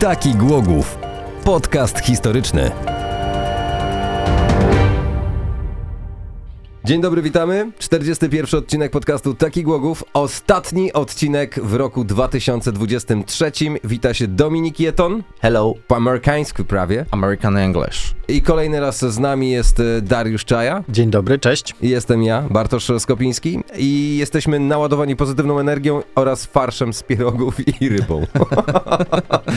Taki Głogów. Podcast historyczny. Dzień dobry, witamy. 41 odcinek podcastu Taki Głogów. Ostatni odcinek w roku 2023. Wita się Dominik Jeton, Hello, po amerykańsku prawie. American English. I kolejny raz z nami jest e, Dariusz Czaja. Dzień dobry, cześć. Jestem ja, Bartosz Skopiński i jesteśmy naładowani pozytywną energią oraz farszem z pierogów i rybą.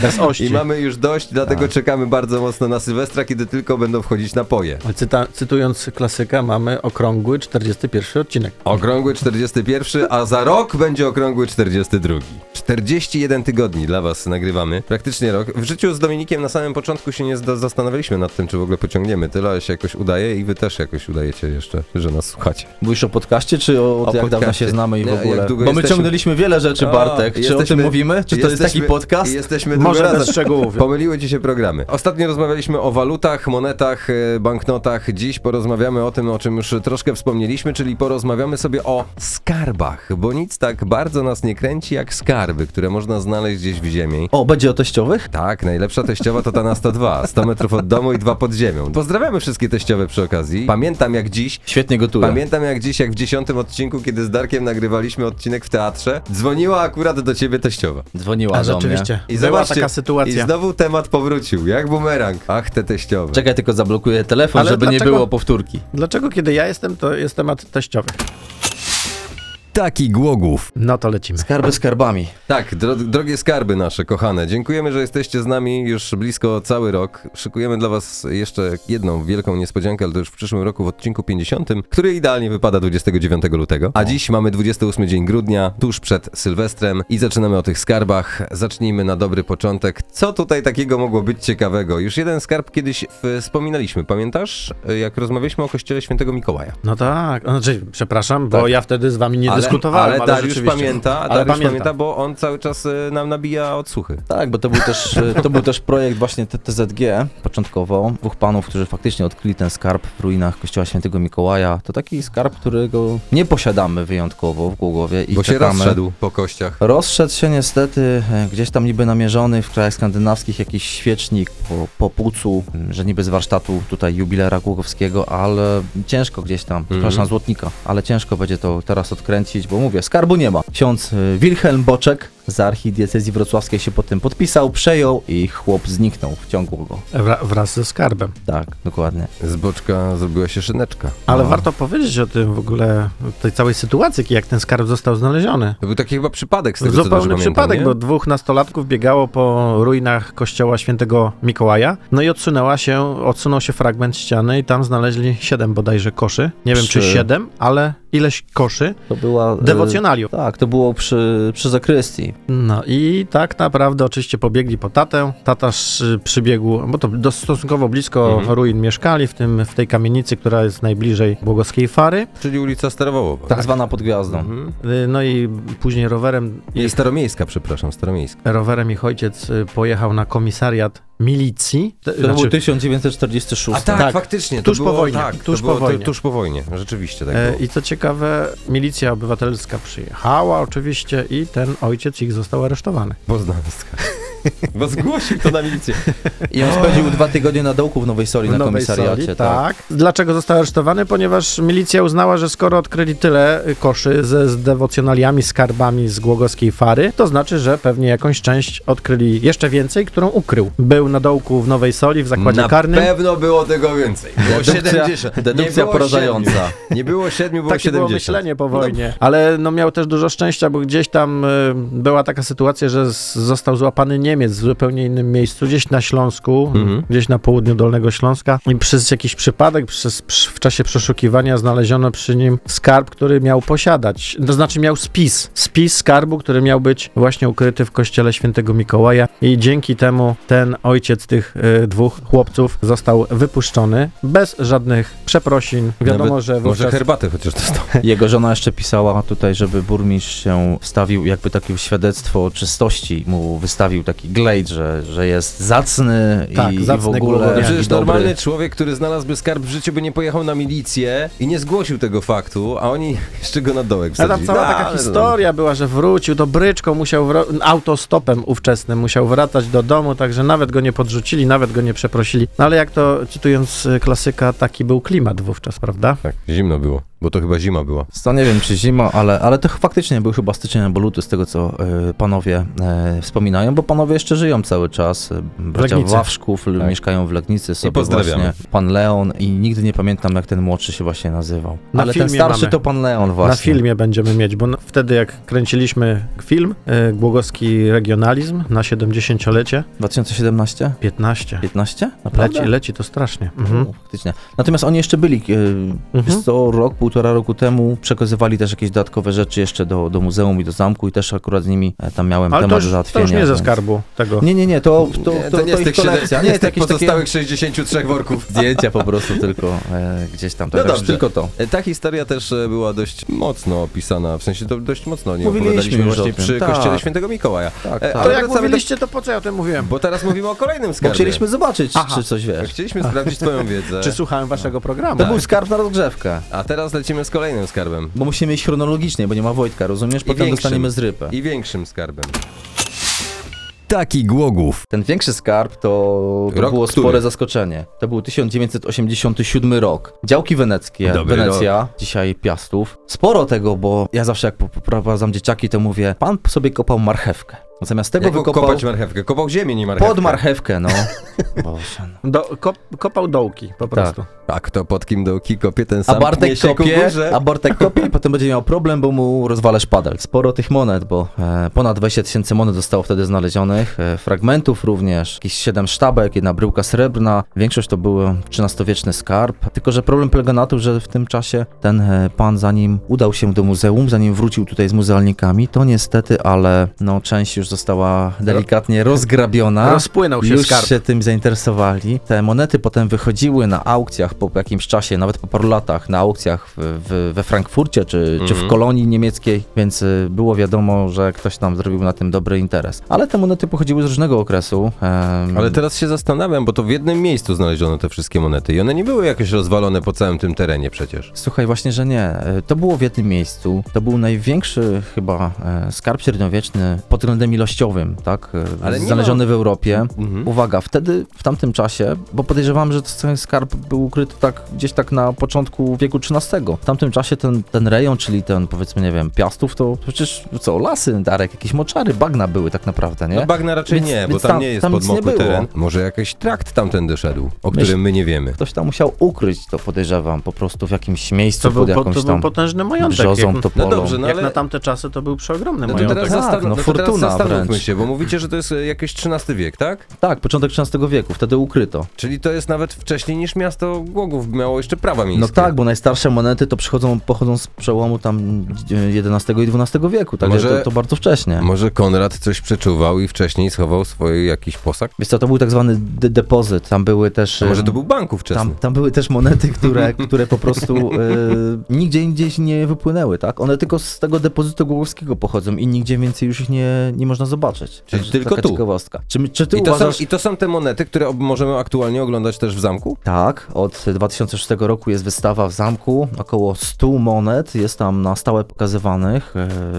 Bez I ości. mamy już dość, dlatego czekamy bardzo mocno na Sylwestra, kiedy tylko będą wchodzić napoje. Cyta, cytując klasyka, mamy okrągły 41 odcinek. Okrągły 41, a za rok będzie okrągły 42. 41 tygodni dla Was nagrywamy, praktycznie rok. W życiu z Dominikiem na samym początku się nie zda- zastanawialiśmy nad tym, czy w ogóle pociągniemy tyle, ale się jakoś udaje i Wy też jakoś udajecie jeszcze, że nas słuchacie. Mówisz o podcaście, czy o, jak dawno podcaście. się znamy i Nie, w ogóle? jak długo Bo my jesteśmy- ciągnęliśmy wiele rzeczy, A, Bartek. Czy o jesteśmy- tym mówimy? Czy to jest taki jesteśmy- podcast? Jesteśmy Może drugi bez raz. szczegółów. Pomyliły ci się programy. Ostatnio rozmawialiśmy o walutach, monetach, e, banknotach. Dziś porozmawiamy o tym, o czym już troszkę wspomnieliśmy, czyli porozmawiamy sobie o skarbach, bo nic tak bardzo nas nie kręci jak skarby, które można znaleźć gdzieś w ziemi. O, będzie o teściowych? Tak, najlepsza teściowa to ta na 102, 100 metrów od domu i dwa pod ziemią. Pozdrawiamy wszystkie teściowe przy okazji. Pamiętam jak dziś, Świetnie gotuję. Pamiętam jak dziś, jak w dziesiątym odcinku, kiedy z Darkiem nagrywaliśmy odcinek w teatrze, dzwoniła akurat do ciebie teściowa. Dzwoniła A do rzeczywiście, mnie. była zobaczcie, taka sytuacja. I znowu temat powrócił, jak bumerang. Ach, te teściowe. Czekaj, tylko zablokuję telefon, Ale żeby nie dlaczego- było powtórki. Dlaczego kiedy ja jestem, to jest temat teściowy? Taki Głogów. No to lecimy. Skarby skarbami. Tak, dro drogie skarby nasze, kochane. Dziękujemy, że jesteście z nami już blisko cały rok. Szykujemy dla was jeszcze jedną wielką niespodziankę, ale to już w przyszłym roku w odcinku 50, który idealnie wypada 29 lutego. A dziś mamy 28 dzień grudnia, tuż przed Sylwestrem i zaczynamy o tych skarbach. Zacznijmy na dobry początek. Co tutaj takiego mogło być ciekawego? Już jeden skarb kiedyś w- wspominaliśmy, pamiętasz? Jak rozmawialiśmy o kościele świętego Mikołaja. No tak, znaczy, przepraszam, bo Tak. ja wtedy z wami nie dyskutowałem, ale, Dariusz rzeczywiście. pamięta, Ale Dariusz pamiętam. pamięta, bo on cały czas y, nam nabija odsłuchy. Tak, bo to był też, e, to był też projekt właśnie TTZG początkowo, dwóch panów, którzy faktycznie odkryli ten skarb w ruinach kościoła świętego Mikołaja. To taki skarb, którego nie posiadamy wyjątkowo w Głogowie i bo się czekamy. rozszedł po kościach. Rozszedł się niestety e, gdzieś tam niby namierzony w krajach skandynawskich jakiś świecznik po, po pucu, m, że niby z warsztatu tutaj jubilera Głogowskiego, ale ciężko gdzieś tam, przepraszam, złotnika, ale ciężko będzie to teraz odkręcić, bo mówię, skarbu nie ma. Ksiądz e, Wilhelm Boczek z archidiecezji wrocławskiej się pod tym podpisał, przejął i chłop zniknął, wciągło go. Wra- wraz ze skarbem. Tak, dokładnie. Z boczka zrobiła się szyneczka. Ale No. warto powiedzieć o tym w ogóle, o tej całej sytuacji, jak ten skarb został znaleziony. To był taki chyba przypadek z tego, co dobrze Zupełny pamiętam, przypadek, nie? bo dwóch nastolatków biegało po ruinach kościoła świętego Mikołaja, no i odsunęła się, odsunął się fragment ściany i tam znaleźli siedem bodajże koszy. Nie wiem, czy Trzy. siedem, ale ileś koszy To była... Y, e, dewocjonaliów. Tak, to było przy, przy zakrystii. No i tak naprawdę oczywiście pobiegli po tatę. Tata sz- przybiegł, bo to dos- stosunkowo blisko Mhm. ruin mieszkali, w, tym, w tej kamienicy, która jest najbliżej Błogoskiej Fary. Czyli ulica Starowołowa. Tak zwana pod gwiazdą. Mhm. Y, No i później rowerem, Nie, i, Staromiejska, przepraszam, Staromiejska. rowerem ich ojciec y, pojechał na komisariat milicji. Te- To znaczy- był 1946. A tak, Tak. faktycznie. Tuż to było, po wojnie, Tak, tuż to było, po wojnie. To, tuż po wojnie, rzeczywiście tak E, było. I co ciekawe, milicja obywatelska przyjechała oczywiście i ten ojciec ich został aresztowany. Poznanska. bo zgłosił to na milicję. I on spędził dwa tygodnie na dołku w Nowej Soli, na komisariacie. tak. tak. Dlaczego został aresztowany? Ponieważ milicja uznała, że skoro odkryli tyle y, koszy ze z dewocjonaliami, skarbami z głogowskiej fary, to znaczy, że pewnie jakąś część odkryli jeszcze więcej, którą ukrył. Był na dołku w Nowej Soli, w zakładzie Na karnym. pewno było tego więcej. Było 70. Nie dedukcja było porażająca. siedmiu. Nie było siedmiu, było Takie 70. było myślenie po wojnie. Ale no miał też dużo szczęścia, bo gdzieś tam y, była taka sytuacja, że z, został złapany Niemiec w zupełnie innym miejscu, gdzieś na Śląsku, Mhm. gdzieś na południu Dolnego Śląska i przez jakiś przypadek, przez, przy, w czasie przeszukiwania znaleziono przy nim skarb, który miał posiadać, to znaczy miał spis, spis skarbu, który miał być właśnie ukryty w kościele świętego Mikołaja i dzięki temu ten ojciec tych y, dwóch chłopców został wypuszczony bez żadnych przeprosin. Wiadomo, Nawet że Może wówczas... herbaty chociaż dostał. Jego żona jeszcze pisała tutaj, żeby burmistrz się wstawił, jakby takie świadectwo czystości mu wystawił, taki taki glejt, że, że jest zacny Tak, i, zacny, i w ogóle głowodajny. i Przecież E, dobry. Znaczy, normalny człowiek, który znalazłby skarb w życiu, by nie pojechał na milicję i nie zgłosił tego faktu, a oni jeszcze go na dołek A wsadzili. tam cała No, taka ale to- historia była, że wrócił do bryczką, musiał wro- autostopem ówczesnym musiał wracać do domu, także nawet go nie podrzucili, nawet go nie przeprosili. No ale jak to cytując y, klasyka, taki był klimat wówczas, prawda? Tak, zimno było, bo to chyba zima była. To nie wiem, czy zima, ale, ale to ch- faktycznie był chyba styczeń albo luty, z tego co y, panowie y, wspominają, bo panowie jeszcze żyją cały czas. y, Bracia Legnicy. Wawszków l- Tak. mieszkają w Legnicy sobie pozdrawiamy. właśnie. Pan Leon i nigdy nie pamiętam, jak ten młodszy się właśnie nazywał. Na ale ten filmie starszy mamy. to pan Leon właśnie. Na filmie będziemy mieć, bo no, wtedy jak kręciliśmy film y, Głogowski Regionalizm na 70-lecie, 2017? 15. 15? Naprawdę? Leci, leci to strasznie. Mhm. O, Faktycznie. Natomiast oni jeszcze byli, Mhm. mhm. co rok, półtora roku temu przekazywali też jakieś dodatkowe rzeczy jeszcze do, do muzeum i do zamku i też akurat z nimi e, tam miałem Ale to temat już, to załatwienia. już nie ze więc- skarbu tego. Nie, nie, nie, to, to, to, nie, to nie z ich tych, kolekcja. siedem, Nie, nie z to tych jakieś pozostałych takie 63 worków. zdjęcia po prostu tylko e, gdzieś tam. Tak, No dobrze. Tylko to. E, Ta historia też e, była dość mocno opisana, w sensie to dość mocno o niej Mówiliśmy opowiadaliśmy już właśnie o tym. przy Tak. kościele świętego Mikołaja. Tak, E, tak. To ale jak wracamy do- mówiliście, to po co ja o tym mówiłem? Bo teraz mówimy o kolejnym Bo skarbie. E, chcieliśmy zobaczyć, Aha. czy coś wiesz. Chcieliśmy sprawdzić twoją wiedzę. Tak. Czy słuchałem waszego programu? To był skarb na rozgrzewkę. A teraz lecimy z kolejnym skarbem. Bo musimy iść chronologicznie, bo nie ma Wojtka, rozumiesz? Potem większym. dostaniemy zrypę. I większym skarbem. Taki głogów. Ten większy skarb to, to Rok było który? spore zaskoczenie. To był 1987 rok. Działki weneckie, Dobry Wenecja, dzisiaj Piastów. Sporo tego, bo ja zawsze jak pop- prowadzam dzieciaki, to mówię, pan sobie kopał marchewkę. Zamiast tego Jak wykopał kopać marchewkę? Kopał ziemię, nie marchewkę. pod marchewkę, no. Boże, no. Do, kop, kopał dołki po prostu. Tak, to pod kim dołki kopie ten A sam Bartek pnie się ku kopie, górze. a Bartek kopie i potem będzie miał problem, bo mu rozwalę szpadel. Sporo tych monet, bo e, ponad 20 tysięcy monet zostało wtedy znalezionych, e, fragmentów również, jakieś 7 sztabek, jedna bryłka srebrna, większość to był XIII-wieczny skarb, tylko że problem polega na tym, że w tym czasie ten e, pan zanim udał się do muzeum, zanim wrócił tutaj z muzealnikami, to niestety, ale no część już została delikatnie rozgrabiona. Rozpłynął się Już skarb. się tym zainteresowali. Te monety potem wychodziły na aukcjach po jakimś czasie, nawet po paru latach, na aukcjach w, w, we Frankfurcie czy, czy w Mhm. kolonii niemieckiej, więc y, było wiadomo, że ktoś tam zrobił na tym dobry interes. Ale te monety pochodziły z różnego okresu. em, Ale teraz się zastanawiam, bo to w jednym miejscu znaleziono te wszystkie monety i one nie były jakoś rozwalone po całym tym terenie przecież. Słuchaj, właśnie, że nie. E, To było w jednym miejscu. To był największy chyba e, skarb średniowieczny pod względem ilościowym, tak? e, Ale nie Znaleziony w Europie. Mhm. Uwaga, wtedy, w tamtym czasie, bo podejrzewam, że ten skarb był ukryty tak gdzieś tak na początku wieku XIII. W tamtym czasie ten, ten rejon, czyli ten powiedzmy, nie wiem, Piastów, to przecież co, lasy, Darek, jakieś moczary, bagna były tak naprawdę, nie? No bagna raczej Więc- nie, bo więc tam, tam- nie jest tam nic nie podmokły było. teren. Może jakiś trakt tamtędy szedł, o Myśl- którym my nie wiemy. Ktoś tam musiał ukryć to, podejrzewam, po prostu w jakimś miejscu To był, pod po, jakąś to był tam potężny majątek. brzozą, jak, topolą. No dobrze, no jak ale... na tamte czasy to był przeogromny No to majątek. teraz, Tak, zastan- no no to teraz fortuna zastanówmy wręcz. się, bo mówicie, że to jest e, jakiś XIII wiek, tak? Tak, początek XIII wieku, wtedy ukryto. Czyli to jest nawet wcześniej niż miasto Głogów miało jeszcze prawa miejskie. No tak, bo najstarsze monety to przychodzą, pochodzą z przełomu tam XI i XII wieku, także Może- to, to bardzo wcześnie. Może Konrad coś przeczuwał i wcześniej schował swój jakiś posag? Wiesz co, to był tak zwany de- depozyt, tam były też... A może y, to był bank ówczesny? Tam, tam były też monety, które, które po prostu y, nigdzie indziej się nie wypłynęły, tak? One tylko z tego depozytu głogowskiego pochodzą i nigdzie więcej już ich nie, nie można zobaczyć. Czyli Także tylko taka tu. ciekawostka. Czy, my- czy ty I to, uważasz... są, I to są te monety, które ob- możemy aktualnie oglądać też w zamku? Tak, od 2006 roku jest wystawa w zamku, około 100 monet jest tam na stałe pokazywanych.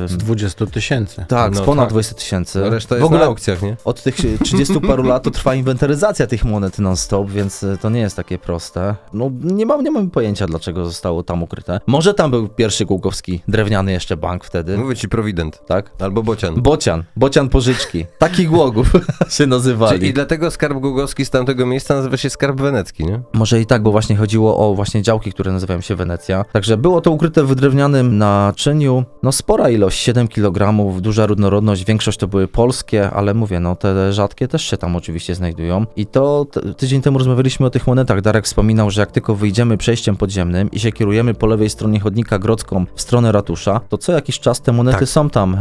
y, Z 20 tysięcy. Tak, No z ponad E, tak. 20 tysięcy. No reszta w jest na ogóle aukcjach, nie? od tych 30 paru lat to trwa inwentaryzacja tych monet non-stop, więc y, to nie jest takie proste. No nie mam, nie mam pojęcia, dlaczego zostało tam ukryte. Może tam był pierwszy Głogowski, drewniany jeszcze bank wtedy, Mówię ci Prowident. tak? Albo Bocian. Bocian, Bocian Pożyczki. Taki Głogów się Czyli nazywali. I dlatego skarb gugowski z tamtego miejsca nazywa się skarb wenecki, nie? Może i tak, bo właśnie chodziło o właśnie działki, które nazywają się Wenecja. Także było to ukryte w drewnianym naczyniu. No spora ilość, 7 kg, duża różnorodność, większość to były polskie, ale mówię, no te rzadkie też się tam oczywiście znajdują. I to t- tydzień temu rozmawialiśmy o tych monetach. Darek wspominał, że jak tylko wyjdziemy przejściem podziemnym i się kierujemy po lewej Tak. stronie chodnika grodzką w stronę ratusza, to co jakiś czas te monety są tam e,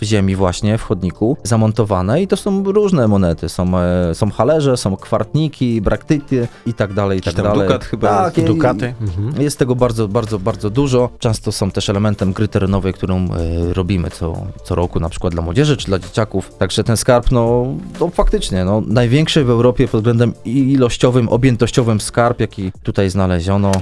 w ziemi właśnie, chodniku zamontowane i to są różne monety. Są, e, są halerze, są kwartniki, braktyty i tak dalej, i tak Jakiś tam dalej. dukat chyba tak, i- Dukaty. Mhm. Jest tego bardzo, bardzo, bardzo dużo. Często są też elementem gry terenowej, którą e, robimy co, co roku, na przykład dla młodzieży czy dla dzieciaków. Także ten skarb, no, no faktycznie, no, największy w Europie pod względem ilościowym, objętościowym skarb, jaki tutaj znaleziono.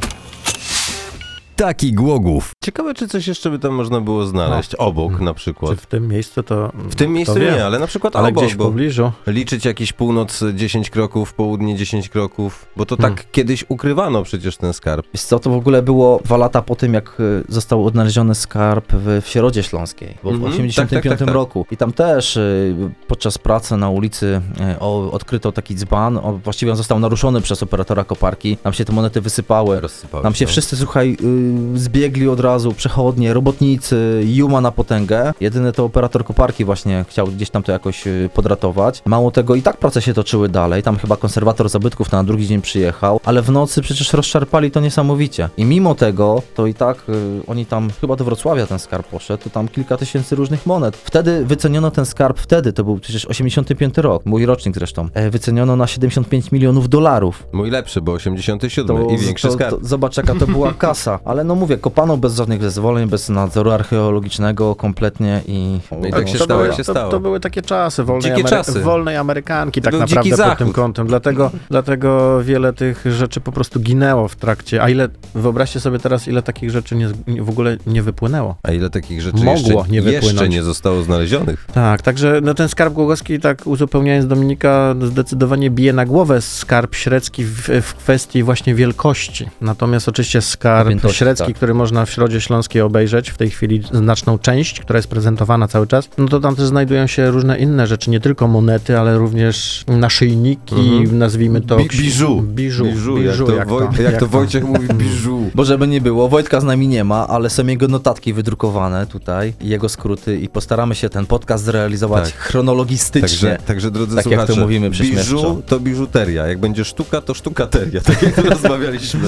Taki Głogów. Ciekawe, czy coś jeszcze by tam można było znaleźć No. obok na Czy przykład. w tym miejscu to. W tym miejscu nie, ale na przykład Ale obok, gdzieś w bo pobliżu. liczyć jakiś północ 10 kroków, południe 10 kroków, bo to tak Hmm. kiedyś ukrywano przecież ten skarb. Wiesz co, to w ogóle było dwa lata po tym, jak y, został odnaleziony skarb w, w Środzie Śląskiej, bo w Mhm, 85 tak, tak, tak, tak. roku. I tam też y, podczas pracy na ulicy y, o, odkryto taki dzban, o, właściwie on został naruszony przez operatora koparki, nam się te monety wysypały. Rozsypały Tam się wszyscy, słuchaj, y, zbiegli od razu, przechodnie, robotnicy, Juma na potęgę. Jedyne to operator koparki właśnie chciał gdzieś tam to jakoś y, podratować. Mało tego, i tak prace się toczyły dalej. Tam chyba konserwator zabytków na drugi dzień przyjechał, ale w nocy przecież rozszarpali to niesamowicie. I mimo tego, to i tak y, oni tam, chyba do Wrocławia ten skarb poszedł, to tam kilka tysięcy różnych monet. Wtedy wyceniono ten skarb, wtedy, to był przecież 85 rok, mój rocznik zresztą, e, wyceniono na 75 milionów dolarów. Mój lepszy, bo 87 i większy To, skarb. to, zobacz, jaka to była kasa. Ale no mówię, kopano bez żadnych zezwoleń, bez nadzoru archeologicznego kompletnie i... No i tak się to stało, były, jak się to, stało. To były takie czasy wolnej, Dzikie Amery- czasy. wolnej Amerykanki, tak był dziki naprawdę pod tym zachód. kątem. Dlatego, dlatego wiele tych rzeczy po prostu ginęło w trakcie. A ile, wyobraźcie sobie teraz, ile takich rzeczy nie, z- nie- w ogóle nie wypłynęło. A ile takich rzeczy Mogło jeszcze, nie wypłynąć. jeszcze nie zostało znalezionych? Tak, także no, ten skarb głogowski, tak uzupełniając Dominika, zdecydowanie bije na głowę skarb średzki w, w kwestii właśnie wielkości. Natomiast oczywiście skarb Objętości, średzki, tak. który można w Środzie Śląskiej obejrzeć, w tej chwili znaczną część, która jest prezentowana cały czas, no to tam też znajdują się różne inne rzeczy, nie tylko monety, ale również naszyjniki, Mhm. nazwijmy to... Bi- biżu. Biżu, Biżu, jak, to, Woj- jak, to Wojciech mówi, biżu. Bo żeby nie było, Wojtka z nami nie ma, ale są jego notatki wydrukowane tutaj, jego skróty i postaramy się ten podcast zrealizować Tak. chronologistycznie. Także, także drodzy Tak jak to słuchacze, mówimy biżu prześmiewczo. to biżuteria, jak będzie sztuka, to sztukateria, tak jak rozmawialiśmy.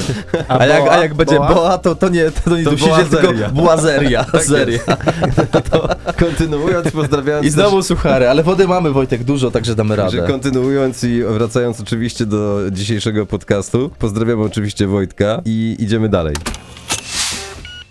A, jak, a jak będzie boa, to, to nie, to, nie To Tak dusicie, tylko boazeria. błazeria. seria. To kontynuując, pozdrawiając I znowu suchary, ale wody mamy Wojtek dużo, także damy Także radę. kontynuując i wracając oczywiście do dzisiejszego podcastu, pozdrawiam oczywiście Wojtka i idziemy dalej.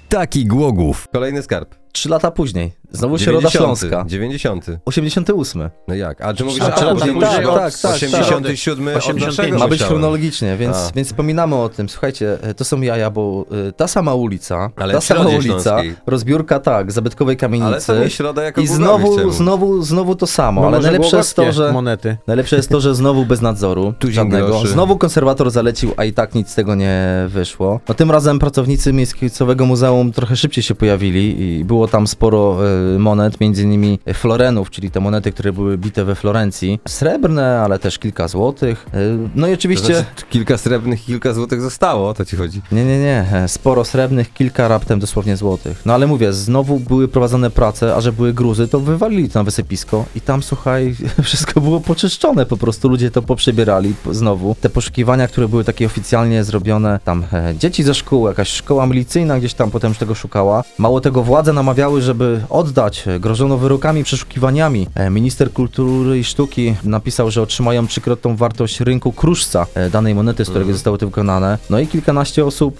Taki Głogów. Kolejny skarb. Trzy lata później, znowu 90. Środa Śląska. 90. 88. No jak? A czy mówisz, A, a, czy a, później, mówisz tak, od tak, tak, 87 od 85. naszego Ma być myślałem. chronologicznie, więc, A. więc wspominamy o tym. Słuchajcie, e, to są jaja, bo e, ta sama ulica, Ale ta w sama Środzie ulica, Śląskiej. rozbiórka tak, zabytkowej Ale kamienicy. sam jest środa jako I Głogowi chciałem znowu, mówić. znowu, znowu to samo, Bo No, ale No może najlepsze jest to, głogowskie że... Monety. Najlepsze jest to, że znowu bez nadzoru Tuzin żadnego. groszy. Znowu konserwator zalecił, a i tak nic z tego nie wyszło. No tym razem pracownicy Miejscowego Muzeum trochę szybciej się pojawili i było tam sporo e, monet, między innymi florenów, czyli te monety, które były bite we Florencji. Srebrne, ale też kilka złotych. E, no i oczywiście... To znaczy, kilka srebrnych, kilka złotych zostało, o to ci chodzi. Nie, nie, nie. Sporo srebrnych, kilka raptem dosłownie złotych. No ale mówię, znowu były prowadzone prace, a że były gruzy, to wywalili to na wysypisko i tam, słuchaj, wszystko było poczyszczone, po prostu ludzie to poprzebierali p- znowu. Te poszukiwania, które były takie oficjalnie zrobione, tam e, dzieci ze szkół, jakaś szkoła milicyjna gdzieś tam potem już tego szukała. Mało tego, władze namawiały, żeby oddać, e, grożono wyrokami, przeszukiwaniami. E, Minister Kultury i Sztuki napisał, że otrzymają trzykrotną wartość rynku kruszca e, danej monety, z którego Mhm. zostały to wykonane. No i kilkanaście osób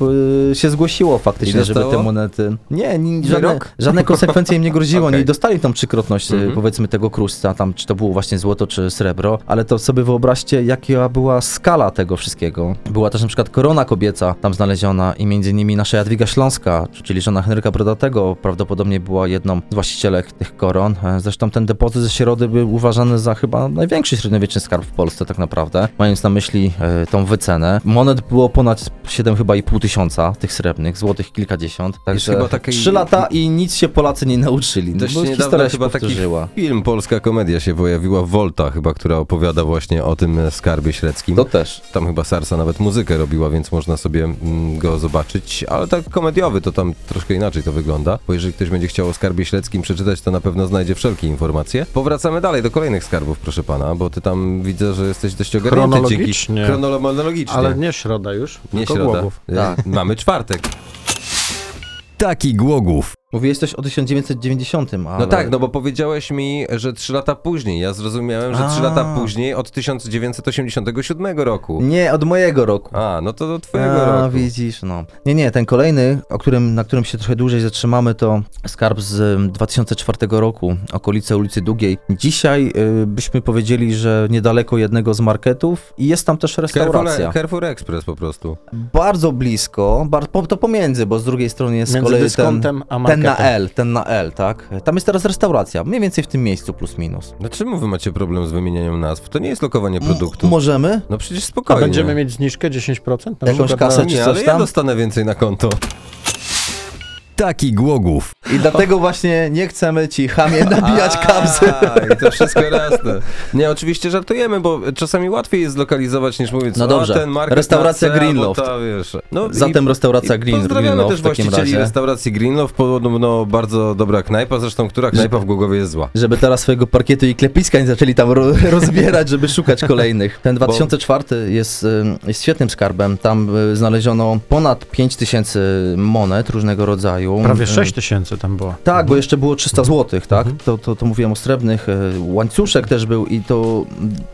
y, się zgłosiło faktycznie, I żeby dostało? te monety... Nie, ni, żadne, Wyrok? żadne konsekwencje im nie groziło, Okej. nie dostali tą trzykrotność y, powiedzmy tego kruszca, tam czy to było właśnie złoto czy srebro, ale to sobie wyobraźcie jaka była skala tego wszystkiego. Była też na przykład korona kobieca tam znaleziona i między innymi nasza Jadwiga Śląska, czyli żona Henryka Brodatego prawdopodobnie była jedną z właścicielek tych koron. E, Zresztą ten depozyt ze Środy był uważany za chyba największy średniowieczny skarb w Polsce tak naprawdę, mając na myśli e, tą wycenę. Monet było ponad 7 chyba i pół tysiąca tych srebrnych, złotych kilkadziesiąt. Także chyba takiej- 3 lata i nic się Polacy nie nauczyli. No, Dość bo niedawno historia się chyba taki powtórzyła. Film Polska Komedia się pojawiła, Volta chyba, która opowiada właśnie o tym e, skarbie śledzkim. To też. Tam chyba Sarsa nawet muzykę robiła, więc można sobie mm, go zobaczyć, ale tak komediowy to tam troszkę inaczej to wygląda, bo jeżeli ktoś będzie chciał o skarbie śledzkim przeczytać, to na pewno znajdzie wszelkie informacje. Powracamy dalej do kolejnych skarbów, proszę pana, bo ty tam widzę, że jesteś dość ogarnięty Chronologicznie. dzięki... Chronologicznie. Ale nie środa już, nie E, tylko środa. Głogów. E, Mamy czwartek. Tak. Taki Głogów. Mówiłeś coś o 1990, ale... No tak, no bo powiedziałeś mi, że trzy lata później. Ja zrozumiałem, że trzy A. lata później od 1987 roku. Nie, od mojego roku. A, no to do twojego A, roku. widzisz, no. Nie, nie, ten kolejny, o którym, na którym się trochę dłużej zatrzymamy, to skarb z em, 2004 roku, okolice ulicy Długiej. Dzisiaj y, byśmy powiedzieli, że niedaleko jednego z marketów i jest tam też Carrefour, restauracja. Carrefour Express po prostu. Bardzo blisko, bar, po, to pomiędzy, bo z drugiej strony jest z Między kolei ten, dyskontem a ten na marketem. L, ten na L, tak? Tam jest teraz restauracja, mniej więcej w tym miejscu plus minus. Dlaczego No wy macie problem z wymienianiem nazw? To nie jest lokowanie M- produktu. Mm, Możemy? No przecież A spokojnie. No będziemy mieć zniżkę 10%? Na Jakąś przykład kasę na... czy Nie, coś ale ja tam? dostanę więcej na konto. Taki głogów. I dlatego właśnie nie chcemy ci chamie nabijać kapsy. A, I to wszystko jasne. Nie, oczywiście żartujemy, bo czasami łatwiej jest zlokalizować niż mówić, No "A, dobrze. ten market Restauracja na C, albo Greenloft. ta, wiesz. No, Zatem restauracja Green- Pozdrawiamy Greenloft też w takim właścicieli razie. restauracji Greenloft, podobno bardzo dobra knajpa, zresztą która knajpa w Głogowie jest zła. Żeby teraz swojego parkietu i klepiska nie zaczęli tam ro rozbierać, żeby szukać kolejnych. Ten 2004 jest, ym, jest świetnym skarbem. Tam y, znaleziono ponad 5000 monet różnego rodzaju. Prawie Ym, 6 tysięcy tam było. Tak, bo jeszcze było 300 zł, tak? Mhm. To, to, to mówiłem o srebrnych. e, Łańcuszek też był i to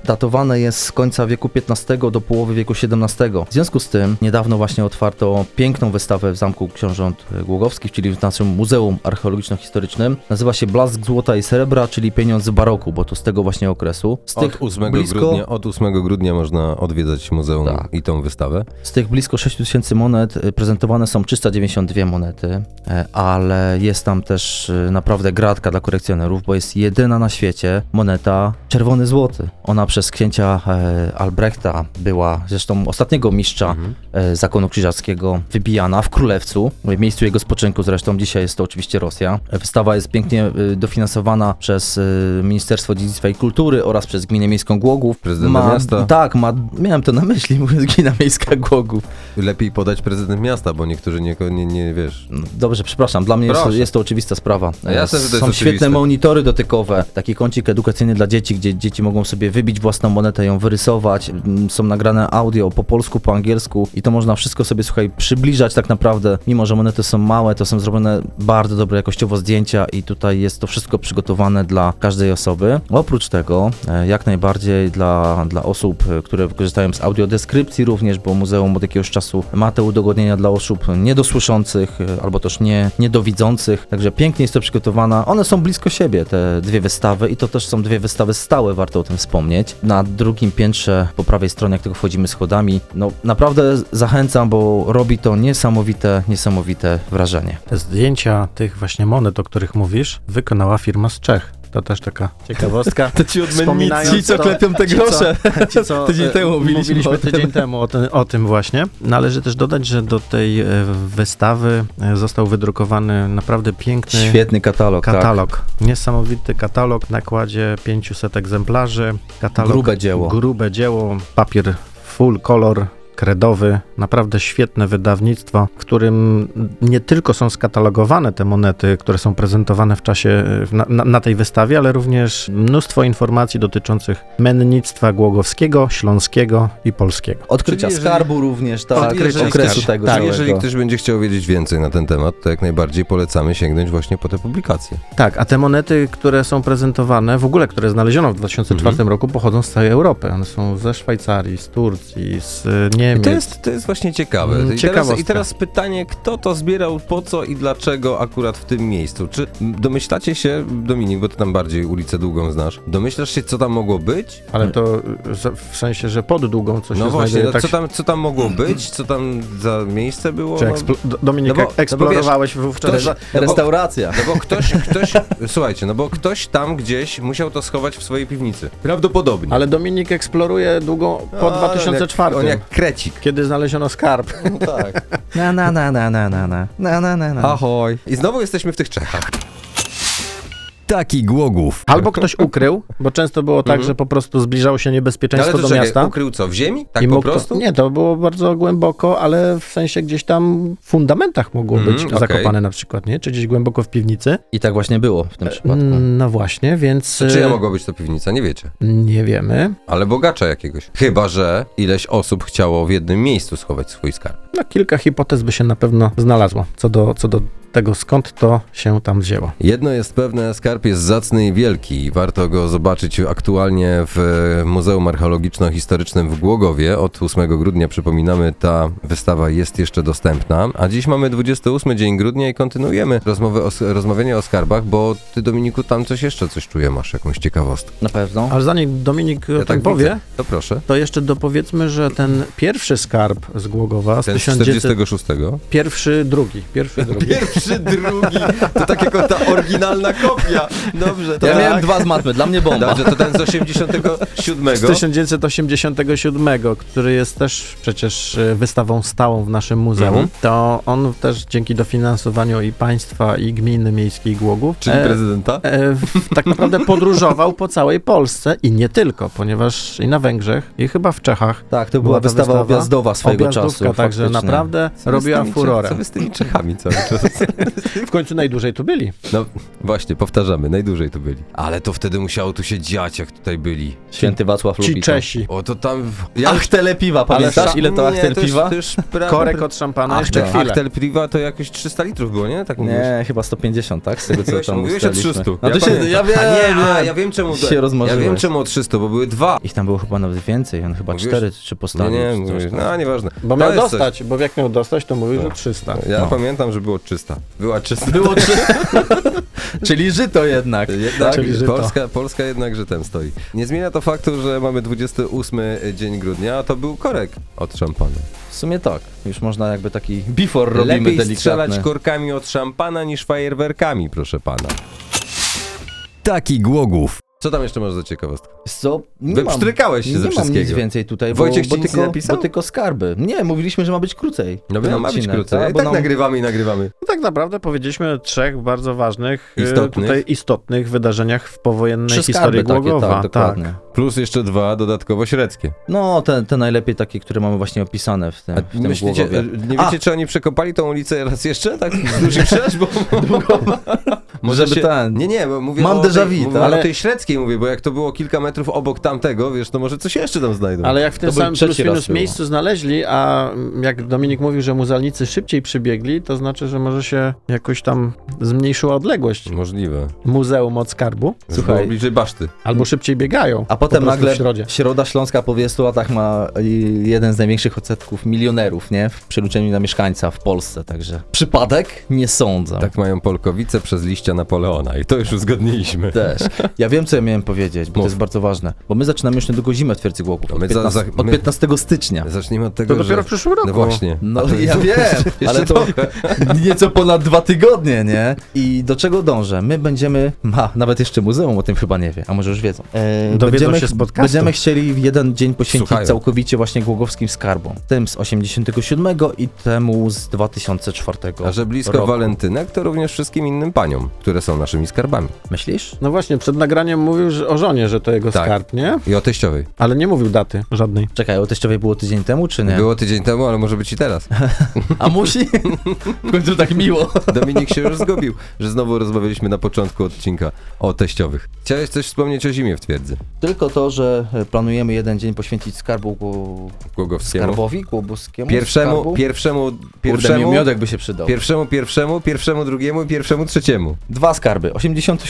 datowane jest z końca wieku XV do połowy wieku XVII. W związku z tym niedawno właśnie otwarto piękną wystawę w Zamku Książąt Głogowskich, czyli w naszym Muzeum Archeologiczno-Historycznym. Nazywa się Blask Złota i Srebra, czyli Pieniądz z baroku, bo to z tego właśnie okresu. Z Od 8, grudnia, od 8 grudnia można odwiedzać muzeum Tak. i tą wystawę. Z tych blisko 6000 monet y, prezentowane są 392 monety, e, ale jest tam też y, naprawdę gratka dla kolekcjonerów, bo jest jedyna na świecie moneta czerwony złoty. Ona przez księcia e, Albrechta była, zresztą ostatniego mistrza e, zakonu krzyżackiego, wybijana w Królewcu, w miejscu jego spoczynku zresztą, dzisiaj jest to oczywiście Rosja. E, Wystawa jest pięknie y, dofinansowana przez y, Ministerstwo Dziedzictwa i Kultury oraz przez Gminę Miejską Głogów. Prezydenta miasta. Tak, ma, miałem to na myśli, mówiąc Gmina Miejska Głogów. Lepiej podać prezydent miasta, bo niektórzy nie, nie, nie wiesz. No, Dobrze, przepraszam, dla mnie jest, Proszę. jest to oczywista sprawa. E, A jasne, że to jest Są oczywiste. świetne monitory dotykowe, taki kącik edukacyjny dla dzieci, gdzie dzieci mogą sobie wybić własną monetę, ją wyrysować. Mm, Są nagrane audio po polsku, po angielsku i to można wszystko sobie, słuchaj, przybliżać tak naprawdę. Mimo, że monety są małe, to są zrobione bardzo dobre jakościowo zdjęcia i tutaj jest to wszystko przygotowane dla każdej osoby. Oprócz tego, e, jak najbardziej dla, dla osób, e, które korzystają z audiodeskrypcji również, bo muzeum od jakiegoś czasu ma te udogodnienia dla osób niedosłyszących e, albo też nie, niedowidzących. Także pięknie jest to przygotowana. One są blisko siebie, te dwie wystawy i to też są dwie wystawy stałe, warto o tym wspomnieć. Na drugim piętrze po prawej stronie, jak tylko wchodzimy schodami, no naprawdę zachęcam, bo robi to niesamowite, niesamowite wrażenie. Te zdjęcia tych właśnie monet, o których mówisz, wykonała firma z Czech. To też taka ciekawostka. To ci Wspominając to- ci co- ci co, Tydzień e, temu mówiliśmy o tym. tydzień temu o, ten, o tym właśnie. Należy też dodać, że do tej e, wystawy e, został wydrukowany naprawdę piękny Świetny katalog, tak. katalog. katalog. Niesamowity katalog w nakładzie 500 egzemplarzy. Katalog, Grube dzieło. Grube dzieło, papier full color. Kredowy, naprawdę świetne wydawnictwo, w którym nie tylko są skatalogowane te monety, które są prezentowane w czasie e, w- na, na, na tej wystawie, ale również mnóstwo informacji dotyczących mennictwa głogowskiego, śląskiego i polskiego. Odkrycia Czyli jeżeli- skarbu również, tak, Czyli jeżeli okresu ktoś- tego tak, całego. jeżeli ktoś będzie chciał wiedzieć więcej na ten temat, to jak najbardziej polecamy sięgnąć właśnie po te publikacje. Tak, a te monety, które są prezentowane, w ogóle, które znaleziono w 2004 roku, pochodzą z całej Europy. One są ze Szwajcarii, z Turcji, z y, I Niemiec. to jest, to jest właśnie ciekawe. I Mm, teraz, I ciekawostka. teraz pytanie, kto to zbierał, po co i dlaczego akurat w tym miejscu? Czy domyślacie się, Dominik, bo ty tam bardziej ulicę Długą znasz, domyślasz się, co tam mogło być? Ale to y, za- w sensie, że pod długą coś no się właśnie, znajduje. Tak no, co, tam, co tam mogło być, co tam za miejsce było? Czy No, eksplo- Do- Dominik, no bo- no bo eksplorowałeś wówczas... ktoś- za- Restauracja. no bo ktoś, ktoś, słuchajcie, no bo ktoś tam gdzieś musiał to schować w swojej piwnicy. Prawdopodobnie. Ale Dominik eksploruje długą po A, 2004, On jak, on jak krecik. kiedy znaleziono skarb. No tak. Na, na, na, na, na, na, na, na, na, na, na. Ahoj. I znowu jesteśmy w tych Czechach. Taki głogów. Albo ktoś ukrył, bo często było tak, że po prostu zbliżało się niebezpieczeństwo Mhm. No Ale to do czekaj, miasta. ukrył co, w ziemi? Tak I po mógł to- prostu? nie, to było bardzo głęboko, ale w sensie gdzieś tam w fundamentach mogło Mhm, być okej. zakopane na przykład, nie? Czy gdzieś głęboko w piwnicy. I tak właśnie było w tym przypadku. Mm, No właśnie, więc Czy ja y, mogła być to piwnica? Nie wiecie. nie wiemy. Ale bogacza jakiegoś. Chyba, że ileś osób chciało w jednym miejscu schować swój skarb. No kilka hipotez by się na pewno znalazło co do, co do tego, skąd to się tam wzięło. Jedno jest pewne, skarb jest zacny i wielki. Warto go zobaczyć aktualnie w e, Muzeum Archeologiczno-Historycznym w Głogowie. Od 8 grudnia, przypominamy, ta wystawa jest jeszcze dostępna. A dziś mamy 28 dzień grudnia i kontynuujemy rozmowę o, s- rozmawianie o skarbach, bo ty, Dominiku, tam coś jeszcze coś czuję, masz jakąś ciekawostkę. Na pewno. Ale zanim Dominik o Ja tak tym powie, widzę. To proszę. to jeszcze dopowiedzmy, że ten pierwszy skarb z Głogowa z Ten z 1900... 46. Pierwszy, drugi. Pierwszy, drugi. Pierwszy, drugi. To tak jako ta oryginalna kopia. Dobrze, to Ja tak. miałem dwa z matmy, dla mnie bomba. Dobrze, to ten z 87. Z 1987, który jest też przecież e, wystawą stałą w naszym muzeum, Mhm. to on też dzięki dofinansowaniu i państwa, i gminy miejskiej Głogów Czyli e, prezydenta? e, w- tak naprawdę podróżował po całej Polsce i nie tylko, ponieważ i na Węgrzech, i chyba w Czechach. Tak, to Była była ta wystawa, wystawa? objazdowa swojego Objazdówka, czasu. także faktycznie. naprawdę Co wy z e, robiła tymi Cze- furorę. Co wy z tymi Czechami cały czas? W końcu najdłużej tu byli. Właśnie, powtarzamy, najdłużej tu byli. Ale to wtedy musiało tu się dziać, jak tutaj byli. Święty Wacław Ci lubi to. Czesi. O, to tam... w- Ja... Achtele piwa, ale pamiętasz sa- ile to nie, achtel już- piwa? to już pra- Korek od szampana, Ach, jeszcze tak. chwilę. Achtel piwa to jakieś 300 litrów było, nie? Tak mówisz? Nie, chyba 150, tak? Z tego co Mówiłeś, tam mówiłeś o ustaliliśmy. 300. No to się, pamiętam. ja wiem, a nie, a, wiem. ja wiem czemu... Się ja wiem rozmarzyłeś. czemu o 300, bo były dwa. Ich tam było chyba nawet więcej, on chyba Mówiłeś- cztery czy Nie, postawił. nie, czy coś mówisz, tam. no nieważne. Bo To miał jest coś. dostać, bo jak miał dostać, to mówił, że 300. Ja No. pamiętam, że było 300. Była 300. Było trzy. Czyli żyto jednak. Jednak Czyli żyto. Polska, Polska jednakże ten stoi. Nie zmienia to faktu, że mamy 28 dzień grudnia, a to był korek od szampana. W sumie tak. Już można jakby taki before robimy Lepiej strzelać delikatny. korkami od szampana niż fajerwerkami, proszę pana. Taki głogów. Co tam jeszcze masz za ciekawostkę? Co? Nie mam- Wypsztrykałeś się nie ze mam nic wszystkiego. więcej tutaj, bo, Wojciech bo, ci nic tylko, nie napisał? bo tylko skarby. Nie, mówiliśmy, że ma być krócej. No, Ten no ma być odcinek, krócej. I Bo tak nam- nagrywamy i nagrywamy. No Tak naprawdę powiedzieliśmy o trzech bardzo ważnych, e, Istotnych. tutaj istotnych wydarzeniach w powojennej Trzy historii skarby takie, Głogowa. tak, dokładnie. Plus jeszcze dwa dodatkowo średzkie. No, te, te najlepiej takie, które mamy właśnie opisane w tym, A w tym myślicie, Głogowie. e, nie wiecie, czy oni przekopali tą ulicę raz jeszcze? Tak? Z dużym szerz, bo... Może Żeby się... ten- Nie, nie, bo mówię Mam o déjà tej, vu, mówię tak? o tej średzkiej mówię, bo jak to było kilka metrów obok tamtego, wiesz, to może coś jeszcze tam znajdą. Ale jak w tym To był samym trzeci no. raz plus minus było. miejscu znaleźli, a mm, jak Dominik mówił, że muzealnicy szybciej przybiegli, to znaczy, że może się jakoś tam zmniejszyła odległość Możliwe. muzeum od skarbu, Słuchaj. Słuchaj. Tak. Było bliżej baszty. albo szybciej biegają. A potem po prostu nagle w środzie. Środa Śląska po 20 latach ma i- jeden z największych odsetków milionerów, nie? W przeliczeniu na mieszkańca w Polsce, także przypadek? Nie sądzę. Tak mają Polkowice przez liścia Napoleona i to już uzgodniliśmy. Też. Ja wiem, co ja miałem powiedzieć, bo Mów. to jest bardzo ważne. Bo my zaczynamy już niedługo zimę w Twierdzy Głogów. No Od, my za- 15, za- od my- 15 stycznia. Zacznijmy od tego, To dopiero w że... przyszłym roku. No właśnie. No A to- ja wiem, ale to nieco ponad dwa tygodnie, nie? I do czego dążę? My będziemy, ma, nawet jeszcze muzeum o tym chyba nie wie, a może już wiedzą. E, Dowiedzą będziemy, się z podcastu. Będziemy chcieli w jeden dzień poświęcić Słuchają. całkowicie właśnie głogowskim skarbom. Tym z 87 i temu z 2004. A że blisko roku. walentynek, to również wszystkim innym paniom, które są naszymi skarbami. Myślisz? No właśnie, przed nagraniem mówił że, o żonie, że to jego Tak. skarb, nie? I o teściowej. Ale nie mówił daty żadnej. Czekaj, o teściowej było tydzień temu, czy nie? Było tydzień temu, ale może być i teraz. A musi? w końcu tak miło. Dominik się już zgubił, że znowu rozmawialiśmy na początku odcinka o teściowych. Chciałeś coś wspomnieć o zimie w twierdzy Tylko to, że e, planujemy jeden dzień poświęcić skarbu Gło- głogowskiemu. skarbowi, głobuskiemu Pierwszemu, skarbu. pierwszemu, Kurde, mi pierwszemu, miodek by się przydał. pierwszemu, pierwszemu, pierwszemu, drugiemu i pierwszemu, trzeciemu. Dwa skarby,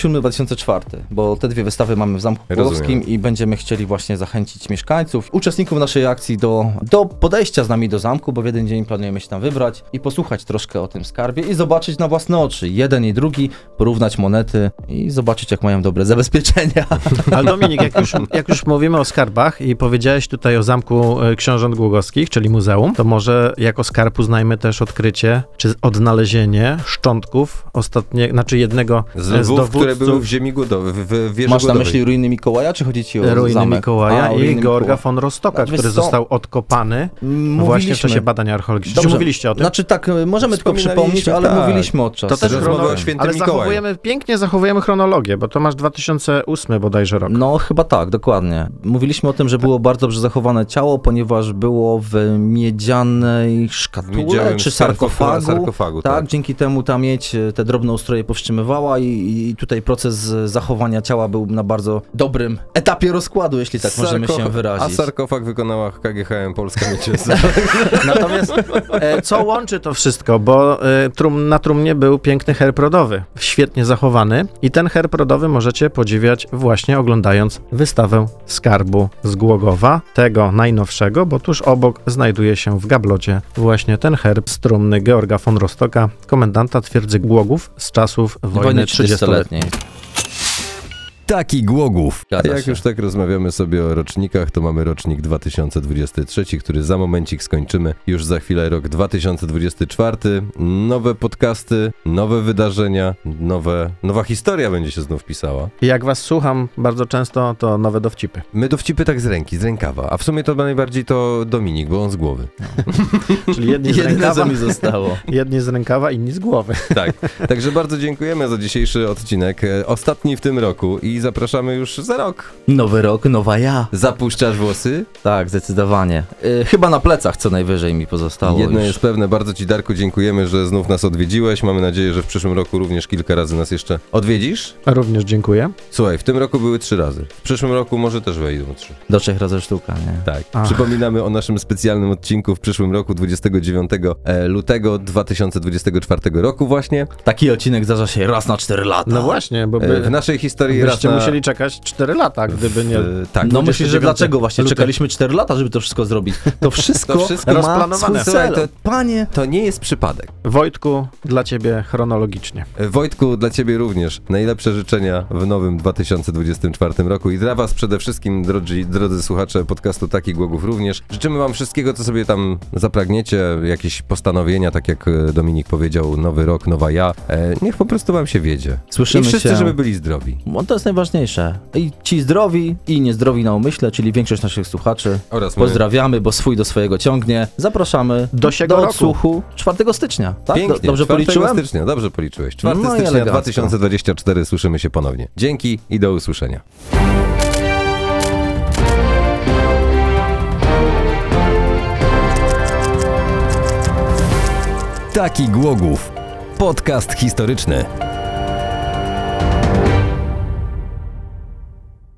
87-2004, bo te dwie wystawy mamy w Zamku Rozumiem. Królewskim i będziemy chcieli właśnie zachęcić mieszkańców, uczestników naszej akcji do, do podejścia z nami do zamku, bo w jeden dzień planujemy się tam wybrać i posłuchać troszkę o tym skarbie i zobaczyć na własne oczy jeden i drugi, porównać monety i zobaczyć jak mają dobre zabezpieczenia. Ale Dominik, jak już, jak już mówimy o skarbach i powiedziałeś tutaj o Zamku e, Książąt Głogowskich, czyli muzeum, to może jako skarb uznajmy też odkrycie, czy odnalezienie szczątków ostatnie, znaczy jednego Z e, lwów, które były w dowódców ziemi głodowej, w, w wieży Masz na głodowej. myśli ruiny Mikołaja, czy chodzi ci o ruiny zamek? Mikołaja A, o i ruiny Georga Mikołaja. von Rostoka, Znaczy, który wiesz co? został odkopany No Mówiliśmy. właśnie w czasie badań archeologicznych. Czy Dobrze. mówiliście o tym? Znaczy tak, e, możemy tylko Wspominaliśmy, przypomnieć, ale tak. mówiliśmy od czasu. To też rozmowa chronologia. o świętym Ale Mikołaju. zachowujemy, pięknie zachowujemy chronologię, bo to masz 2008 bodajże rok. No chyba tak, dokładnie. Mówiliśmy o tym, że było bardzo dobrze zachowane ciało, ponieważ było w miedzianej szkatule Miedzianym czy sarkofa- sarkofagu. sarkofagu, tak. tak, dzięki temu ta miedź, e, te drobne ustroje powstrzymywały zatrzymywała i, i tutaj proces e, zachowania ciała był na bardzo dobrym etapie rozkładu, jeśli tak możemy Sarko- się A wyrazić. sarkofag wykonała KGHM Polska Mieciesa. Natomiast e, co łączy to wszystko? Bo e, trum, na trumnie był piękny herb rodowy, świetnie zachowany i ten herb rodowy możecie podziwiać właśnie oglądając wystawę skarbu z Głogowa, tego najnowszego, bo tuż obok znajduje się w gablocie właśnie ten herb z trumny Georga von Rostoka, komendanta twierdzy Głogów z czasów wojny, Wojny 30-letniej. 30-letniej. Taki głogów. Zgadza Jak się. już tak rozmawiamy sobie o rocznikach, to mamy rocznik 2023, który za momencik skończymy. Już za chwilę rok 2024. Nowe podcasty, nowe wydarzenia, nowe, nowa historia będzie się znów pisała. Jak was słucham bardzo często, to nowe dowcipy. My dowcipy tak z ręki, z rękawa. A w sumie to najbardziej to Dominik, bo on z głowy. Czyli jedni z Jedyne, rękawa, co mi zostało. jedni z rękawa, inni z głowy. Tak. Także bardzo dziękujemy za dzisiejszy odcinek. e, Ostatni w tym roku i zapraszamy już za rok. Nowy rok, nowa ja. Zapuszczasz włosy? Tak, zdecydowanie. Y, chyba na plecach co najwyżej mi pozostało Jedno już. jest pewne, bardzo Ci Darku dziękujemy, że znów nas odwiedziłeś. Mamy nadzieję, że w przyszłym roku również kilka razy nas jeszcze odwiedzisz. Również dziękuję. Słuchaj, w tym roku były trzy razy. W przyszłym roku może też wejdą trzy. Do trzech razy sztuka, nie? Tak. Ach. Przypominamy o naszym specjalnym odcinku w przyszłym roku, 29 e, lutego 2024 roku właśnie. Taki odcinek zdarza się raz na cztery lata. No właśnie, bo E, by, W naszej historii raz byście na... musieli czekać 4 lata, gdyby nie... w- Tak. No myślisz, że 29 dlaczego właśnie lutego. czekaliśmy 4 lata, żeby to wszystko zrobić? To wszystko, wszystko ma swój rozplanowane. cel. Słuchaj, to- Tak, Panie, To nie jest przypadek. Wojtku, dla ciebie chronologicznie. E, Wojtku, dla Ciebie również najlepsze życzenia w nowym 2024 roku i dla Was przede wszystkim, drodzy, drodzy słuchacze podcastu Taki Głogów również. Życzymy Wam wszystkiego, co sobie tam zapragniecie, jakieś postanowienia, tak jak e, Dominik powiedział, nowy rok, nowa ja. E, niech po prostu Wam się wiedzie. I słyszymy wszyscy, się. żeby byli zdrowi. No to jest najważniejsze. I ci zdrowi i niezdrowi na umyśle, czyli większość naszych słuchaczy. Oraz my. Pozdrawiamy, bo swój do swojego ciągnie. Zapraszamy Do siego roku. odsłuchu 4 stycznia. Tak? Pięknie, Do, dobrze 4 policzyłem? stycznia, dobrze policzyłeś. 4 No i stycznia elegancko. 2024 słyszymy się ponownie. Dzięki i do usłyszenia. Taki Głogów. Podcast historyczny.